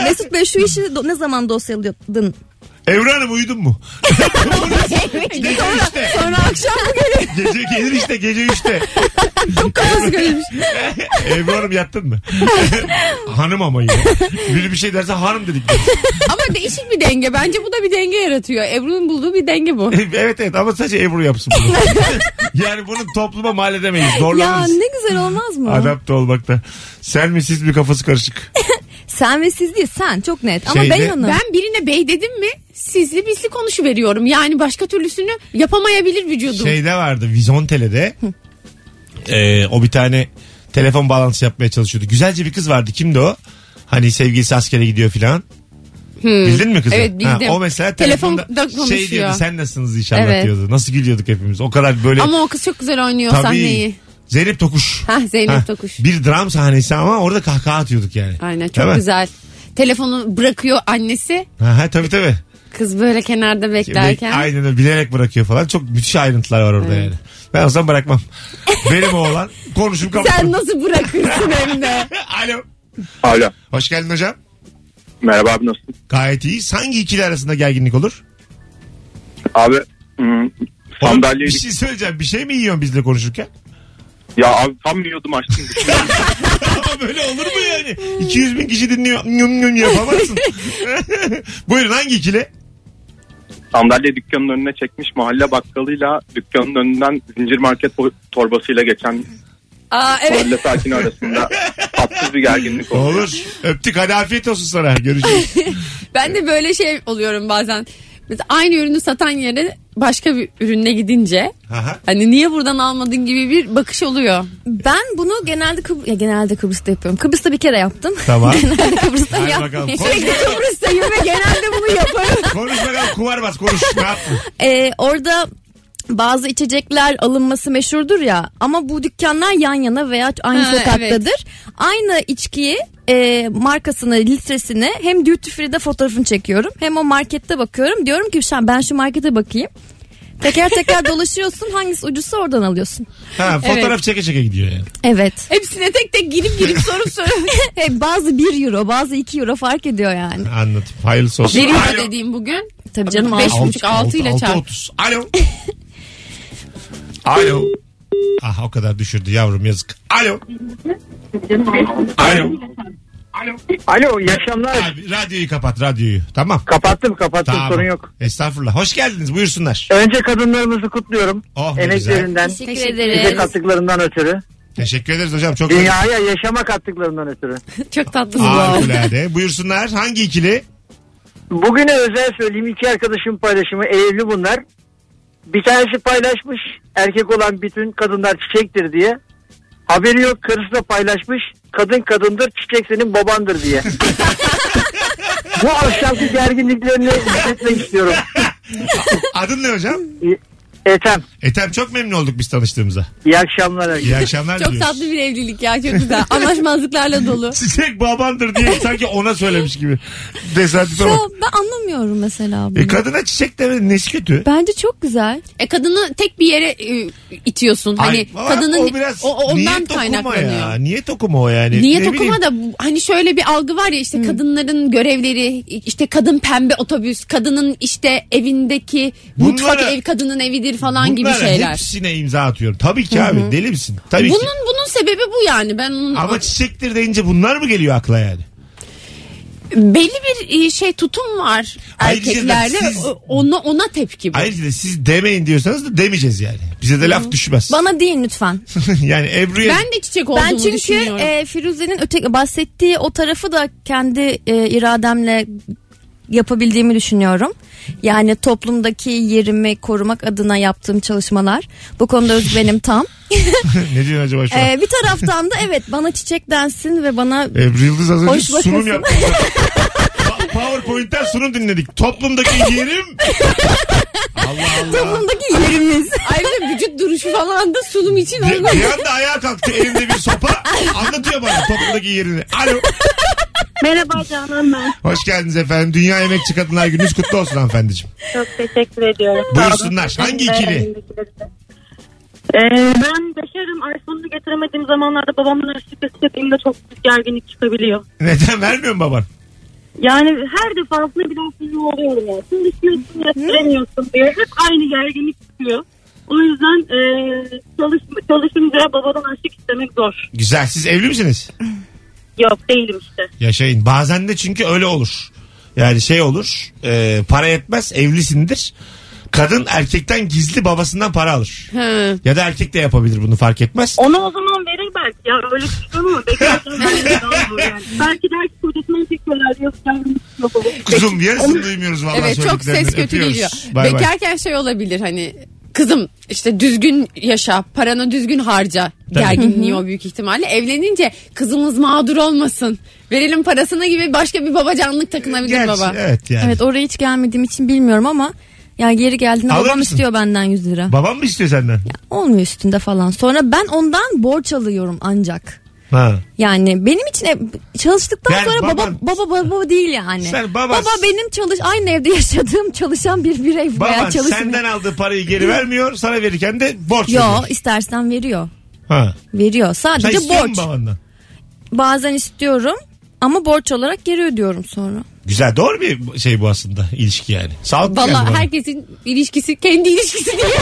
Mesut Bey şu işi do- ne zaman dosyaladın? Evren Hanım uyudun mu? gece üçte. Sonra akşam bu geliyor. Gece gelir işte gece üçte. Kafası görülmüş. Evren Hanım yattın mı? hanım ama yine. Biri bir şey derse hanım dedik. Ama değişik bir denge. Bence bu da bir denge yaratıyor. Ebru'nun bulduğu bir denge bu. evet evet ama sadece Ebru yapsın bunu. yani bunu topluma mal edemeyiz. Ya Zorlanırız. ne güzel olmaz mı? Adapte olmakta. Sen mi siz mi kafası karışık? Sen ve siz değil sen çok net. Ama Şeyde- Bey Hanım. Ben birine bey dedim mi sizli bizli konuşu veriyorum. Yani başka türlüsünü yapamayabilir vücudum. Şeyde vardı Vizontele'de. Ee, o bir tane telefon bağlantısı yapmaya çalışıyordu. Güzelce bir kız vardı. Kimdi o? Hani sevgilisi askere gidiyor filan. Bildin mi kızı? Evet, bildim. o mesela telefonda Telefonda şey konuşuyor. diyordu sen nasılsınız inşallah Evet. diyordu. Nasıl gülüyorduk hepimiz. O kadar böyle Ama o kız çok güzel oynuyor tabii. sahneyi. Zeynep Tokuş. Hah Zeynep Hah, Tokuş. Bir dram sahnesi ama orada kahkaha atıyorduk yani. Aynen çok Değil mi? güzel. Telefonu bırakıyor annesi. Ha, ha, tabii tabii. Kız böyle kenarda beklerken. Aynen öyle bilerek bırakıyor falan. Çok müthiş ayrıntılar var orada yani. Ben olsam bırakmam. Benim oğlan konuşup Sen kapatırım. nasıl bırakırsın hem de? Alo. Alo. Hoş geldin hocam. Merhaba abi nasılsın? Gayet iyi. Hangi ikili arasında gerginlik olur? Abi ım, Oğlum, sandalyeyi... Bir şey söyleyeceğim. Bir şey mi yiyorsun bizle konuşurken? Ya abi tam yiyordum açtım. Ama böyle olur mu yani? 200 bin kişi dinliyor. Nyum nyum yapamazsın. Buyurun hangi ikili? Sandalye dükkanın önüne çekmiş mahalle bakkalıyla dükkanın önünden zincir market o- torbasıyla geçen Aa evet. mahalle sakini arasında tatsız bir gerginlik oldu. Olur. Öptük. Hadi afiyet olsun sana. Görüşürüz. Ben de böyle şey oluyorum bazen. Mesela aynı ürünü satan yere başka bir ürüne gidince Aha. hani niye buradan almadın gibi bir bakış oluyor. Ben bunu genelde Kıbr- ya genelde Kıbrıs'ta yapıyorum. Kıbrıs'ta bir kere yaptım. Tamam. genelde Kıbrıs'ta Şey, Hadi yapmıyorum. bakalım. Konuş, Kıbrıs'tayım ve genelde bunu yaparım. konuş bakalım. Kuvar bas. Konuş. Ne yaptın? Ee, orada bazı içecekler alınması meşhurdur ya ama bu dükkanlar yan yana veya aynı Ha, sokaktadır. Aynı içkiyi e, markasını, litresini hem duty free'de fotoğrafını çekiyorum hem o markette bakıyorum. Diyorum ki şu an ben şu markete bakayım. Teker teker dolaşıyorsun hangisi ucuzsa oradan alıyorsun. Ha, fotoğraf çeke çeke gidiyor yani. Evet. Hepsine tek tek girip girip sorup sorup. bazı 1 euro bazı 2 euro fark ediyor yani. Anladım. Hayırlısı olsun. Bir Alo. dediğim bugün. Tabii canım Beş altı. buçuk, altı ile altı çarp. otuz. Alo. Alo. Ah o kadar düşürdü yavrum yazık. Alo. Alo. Alo iyi akşamlar. Abi, radyoyu kapat radyoyu. Tamam. Kapattım kapattım Tamam. sorun yok. Estağfurullah. Hoş geldiniz buyursunlar. Önce kadınlarımızı kutluyorum. Oh, ne güzel. Emeklerinden, Teşekkür bize ederiz. kattıklarından ötürü. Teşekkür ederiz hocam. Çok Dünyaya yaşama kattıklarından ötürü. Çok tatlısın. Harikulade. Buyursunlar. Hangi ikili? Bugüne özel söyleyeyim iki arkadaşım paylaşımı evli bunlar. Bir tanesi paylaşmış erkek olan bütün kadınlar çiçektir diye. Haberi yok karısı da paylaşmış kadın kadındır çiçek senin babandır diye. Bu akşamki gerginliklerini hissetmek istiyorum. Adın ne hocam? Ethem. Ethem çok memnun olduk biz tanıştığımıza. İyi akşamlar. herkese. İyi akşamlar Çok diliyoruz. tatlı bir evlilik ya çok güzel. Anlaşmazlıklarla dolu. Çiçek babandır diye sanki ona söylemiş gibi. Tesadüfe Yo, bak. ben anlamıyorum mesela bunu. E kadına çiçek demedi nesi kötü? Bence çok güzel. E kadını tek bir yere e, itiyorsun. Hani Ay, baba, kadının o biraz o- ondan niyet okuma kaynaklanıyor. ya. Niyet okuma o yani. Niyet Ne bileyim. okuma da bu- hani şöyle bir algı var ya işte kadınların görevleri işte kadın pembe otobüs kadının işte evindeki mutfak Bunlara- ev kadının evidir falan gibi Bunlara şeyler. E, hepsine imza atıyorum. Tabii ki abi deli misin? Tabii ki. Bunun bunun sebebi bu yani ben onun Ama çiçektir deyince bunlar mı geliyor akla yani? belli bir e, şey tutum var Ayrıca da erkeklerde siz- O- ona ona tepki bu. Ayrıca da siz demeyin diyorsanız da demeyeceğiz yani. Bize de laf düşmez. Bana deyin lütfen. yani Ebru'ya Ben de çiçek olduğumu Ben çünkü düşünüyorum. e, Firuze'nin öte bahsettiği o tarafı da kendi e, irademle yapabildiğimi düşünüyorum. Yani toplumdaki yerimi korumak adına yaptığım çalışmalar. Bu konuda özgüvenim tam. ne diyorsun acaba şu an? E, bir taraftan da evet bana çiçek densin ve bana Ebru Yıldız az önce Hoş sunum bakasın. yaptı. Pa- PowerPoint'ten sunum dinledik. Toplumdaki yerim. Allah Allah. toplumdaki yerimiz. Ayrıca vücut duruşu falan da sunum için Bir, olmaz. bir anda ayağa kalktı elinde bir sopa. Anlatıyor bana toplumdaki yerini. Alo. Merhaba Canan ben. Hoş geldiniz efendim. Dünya Emekçi Kadınlar Gününüz kutlu olsun hanımefendiciğim. Çok teşekkür ediyorum. Buyursunlar. Sağ olun. Hangi Ben de ikili? elimdekileri de. Ee, ben beşerim. iPhone'u getiremediğim zamanlarda babamdan harçlık istediğimde çok büyük gerginlik çıkabiliyor. Neden vermiyor mu baban? Yani her defasında bir haksızlığı oluyorum ya. Şimdi istiyorsun getiremiyorsun diye hep aynı gerginlik çıkıyor. O yüzden e, çalış, çalışınca babadan harçlık istemek zor. Güzel. Siz evli misiniz? Yok değilim işte. Yaşayın. Bazen de çünkü öyle olur. Yani şey olur. e, para yetmez evlisindir. Kadın erkekten gizli babasından para alır. Hı. Ya da erkek de yapabilir bunu fark etmez. Onu o zaman verir belki ya öyle tutuyor mu? Beklerken böyle daha zor yani. Belki der ki kocasından çekiyorlar diyor. yavrum, yok olur. Kuzum yarısını duymuyoruz vallahi Evet çok söylediklerinden. ses kötü Öpüyoruz. geliyor. Bay bay. Bekarken şey olabilir hani kızım işte düzgün yaşa, paranı düzgün harca gerginliği o büyük ihtimalle. Evlenince kızımız mağdur olmasın. Verelim parasını gibi başka bir babacanlık takınabilir Gerçi, baba. Evet yani. Evet oraya hiç gelmediğim için bilmiyorum ama yani geri geldiğinde Alır babam mısın? istiyor benden 100 lira. Babam mı istiyor senden? Olmuyor üstünde falan. Sonra ben ondan borç alıyorum ancak. Ha. Yani benim için e- çalıştıktan Yani sonra baban- baba baba baba değil yani. Sen baban- Baba benim çalış aynı evde yaşadığım çalışan bir birey Baban veya çalışmıyor. senden aldığı parayı geri vermiyor. Sana verirken de borç Yo veriyor. istersen veriyor. Ha. Veriyor. Sen Sadece istiyor borç. musun babandan? Bazen istiyorum ama borç olarak geri ödüyorum sonra. Güzel doğru bir şey bu aslında ilişki yani. Sağlıklı geldi Valla bana. herkesin ilişkisi kendi ilişkisi değil.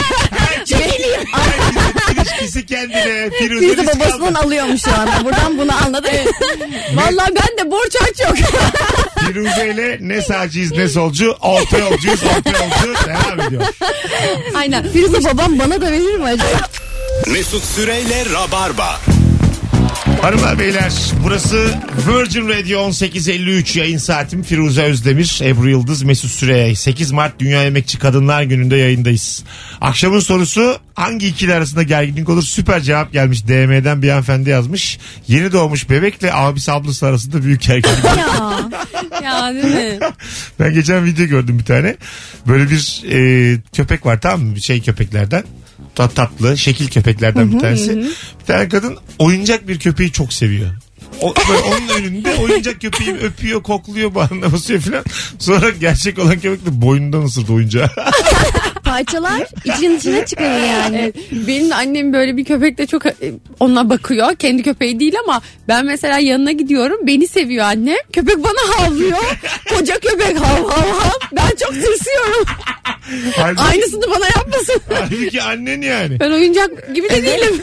Herkesin ilişkisi kendine. Firuze Siz biz de babasından kaldık. alıyormuş şu anda. Buradan bunu anladım. Valla ben de borç aç yok. Firuze ile ne sağcıyız ne solcu. Orta yolcuyuz orta yolcu. Devam ediyor. Aynen. Firuze babam bana da verir mi acaba? Mesut Süreyle Rabarba. Hanımlar beyler burası Virgin Radio 1853 yayın saatim Firuze Özdemir, Ebru Yıldız, Mesut Süre 8 Mart Dünya Emekçi Kadınlar Günü'nde yayındayız. Akşamın sorusu hangi ikili arasında gerginlik olur? Süper cevap gelmiş DM'den bir hanımefendi yazmış. Yeni doğmuş bebekle abisi ablası arasında büyük gerginlik. ya. ya değil mi? ben geçen video gördüm bir tane. Böyle bir e, köpek var tamam mı? Şey köpeklerden. Tat, tatlı şekil köpeklerden bir tanesi. Bir tane kadın oyuncak bir köpeği çok seviyor. O, böyle onun önünde oyuncak köpeği öpüyor, kokluyor, bağrına basıyor falan. Sonra gerçek olan köpek de boynundan ısırdı oyuncağı. Parçalar için içine çıkıyor yani. Evet. Benim de annem böyle bir köpekle çok e, ona bakıyor. Kendi köpeği değil ama ben mesela yanına gidiyorum. Beni seviyor anne. Köpek bana havlıyor. Koca köpek hav hav hav. Ben çok tırsıyorum. Halbuki, Aynısını bana yapmasın. halbuki annen yani. Ben oyuncak gibi de değilim.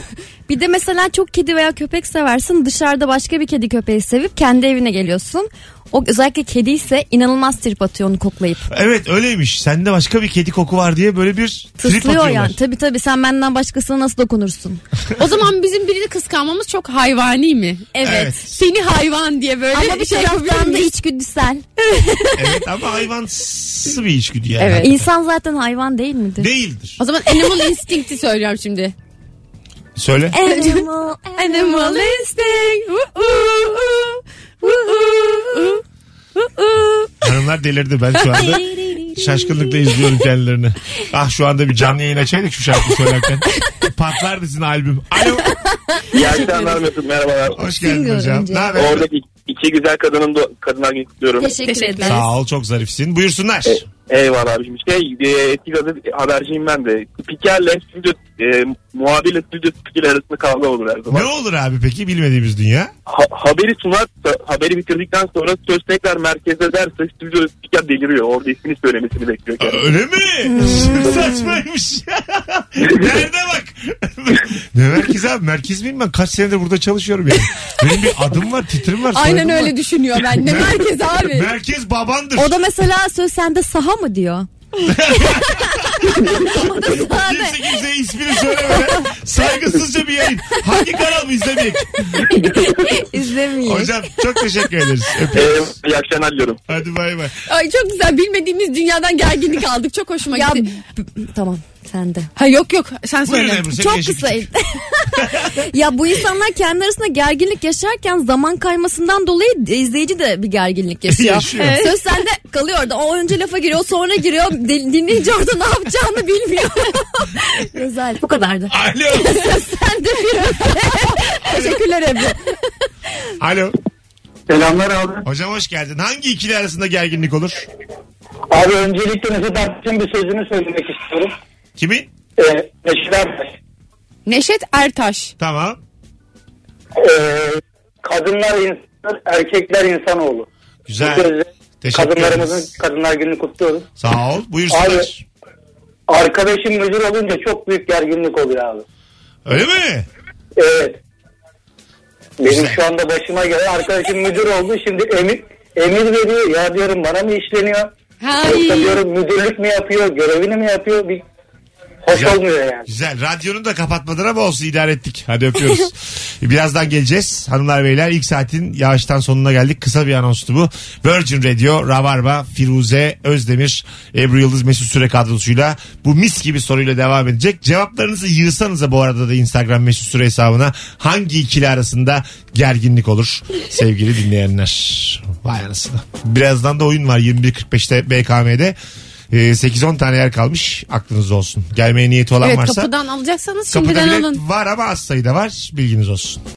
Bir de mesela çok kedi veya köpek seversin dışarıda başka bir kedi köpeği sevip kendi evine geliyorsun. O özellikle kedi ise inanılmaz trip atıyor onu koklayıp. Evet öyleymiş. Sende başka bir kedi koku var diye böyle bir trip Tıslıyor atıyorlar. yani. Tabii tabii sen benden başkasına nasıl dokunursun? O zaman bizim birini kıskanmamız çok hayvani mi? Evet. Seni hayvan diye böyle Ama bir şey taraftan da yapabilir içgüdüsel. Evet ama hayvansı bir içgüdü yani. Evet. İnsan zaten hayvan değil midir? Değildir. O zaman animal instinct'i söylüyorum şimdi. Söyle. Animal, animal. instinct. Uh, uh, uh. Uh, uh, uh. Uh, uh. Hanımlar delirdi ben şu anda. Şaşkınlıkla izliyorum kendilerini. Ah şu anda bir canlı yayın açaydık şu şarkıyı söylerken. Patlardı sizin albüm. Alo. İyi akşamlar Mesut merhabalar. Hoş geldin hocam. önce. Ne haber? Oradaki iki güzel kadının da kadınlar günü kutluyorum. Teşekkür, ederiz. Sağ ol çok zarifsin. Buyursunlar. E, Eyvallah abicim. Şey, e, eski gazete haberciyim ben de. Spikerle stüdyo, e, muhabirle stüdyo spikeri arasında kavga olur her zaman. ne olur abi peki bilmediğimiz dünya? Ha- haberi sunarsa, haberi bitirdikten sonra söz tekrar merkeze ederse stüdyo spiker deliriyor. Orada ismini söylemesini E, bekliyor. kendisi. Öyle mi? Saçmaymış. Nerede bak? ne merkez abi? Merkez miyim ben? Kaç senedir burada çalışıyorum yani. Benim bir adım var, titrim var. Aynen soyadım var. öyle düşünüyor ben. Ne merkez abi. Merkez babandır. O da mesela söz sende saha mı diyor? o da sahada. Kimse kimseye ismini söylemeden saygısızca bir yayın. Hangi kanal bu izlemek? İzlemiyor. Hocam çok teşekkür ederiz. E, Öpüyoruz. iyi akşamlar diliyorum. Hadi bay bay. Ay çok güzel bilmediğimiz dünyadan gerginlik aldık. Çok hoşuma Ya gitti. b- tamam sende. Ha yok yok sen söyle. Buyurun Ebru. senin Çok yaşın kısa. küçük. ya bu insanlar kendi arasında gerginlik yaşarken zaman kaymasından dolayı e, izleyici de bir gerginlik yaşıyor. Yaşıyor. Evet. Söz sende kalıyor da o önce lafa giriyor sonra giriyor Din- dinleyici orada ne yapacağını bilmiyor. Güzel. Bu kadardı. Alo. Sen de bir Teşekkürler Ebru. Alo. Selamlar abi. Hocam hoş geldin. Hangi ikili arasında gerginlik olur? Abi öncelikle Neşet Ertaş'ın bir sözünü söylemek istiyorum. Kimin? Ee, Neşet Ertaş. Neşet Ertaş. Tamam. Ee, kadınlar insan, erkekler insanoğlu. Bu Güzel. sözle Teşekkür ederiz. kadınlarımızın kadınlar gününü kutluyoruz. Sağ ol. Buyursunlar. Abi. Arkadaşım müdür olunca çok büyük gerginlik oluyor abi. Öyle mi? Evet. Benim Güzel. şu anda başıma gelen arkadaşım müdür oldu. Şimdi emir, emir veriyor. Ya diyorum bana mı işleniyor? Hay. Yoksa diyorum müdürlük mü yapıyor? Görevini mi yapıyor? Bir hoş Güzel. olmuyor yani. Güzel. Radyonu da kapatmadın ama olsun idare ettik. Hadi öpüyoruz. Birazdan geleceğiz. Hanımlar beyler ilk saatin yağıştan sonuna geldik. Kısa bir anonstu bu. Virgin Radio, Rabarba, Firuze, Özdemir, Ebru Yıldız, Mesut Süre kadrosuyla bu mis gibi soruyla devam edecek. Cevaplarınızı yığsanıza bu arada da Instagram Mesut Süre hesabına hangi ikili arasında gerginlik olur sevgili dinleyenler. Vay anasını. Birazdan da oyun var 21.45'te BKM'de. Ee, 8-10 tane yer kalmış aklınızda olsun. Gelmeye niyeti olan Evet varsa kapıdan alacaksanız Kapıda şimdiden bilet alın. var ama az sayıda var. Bilginiz olsun.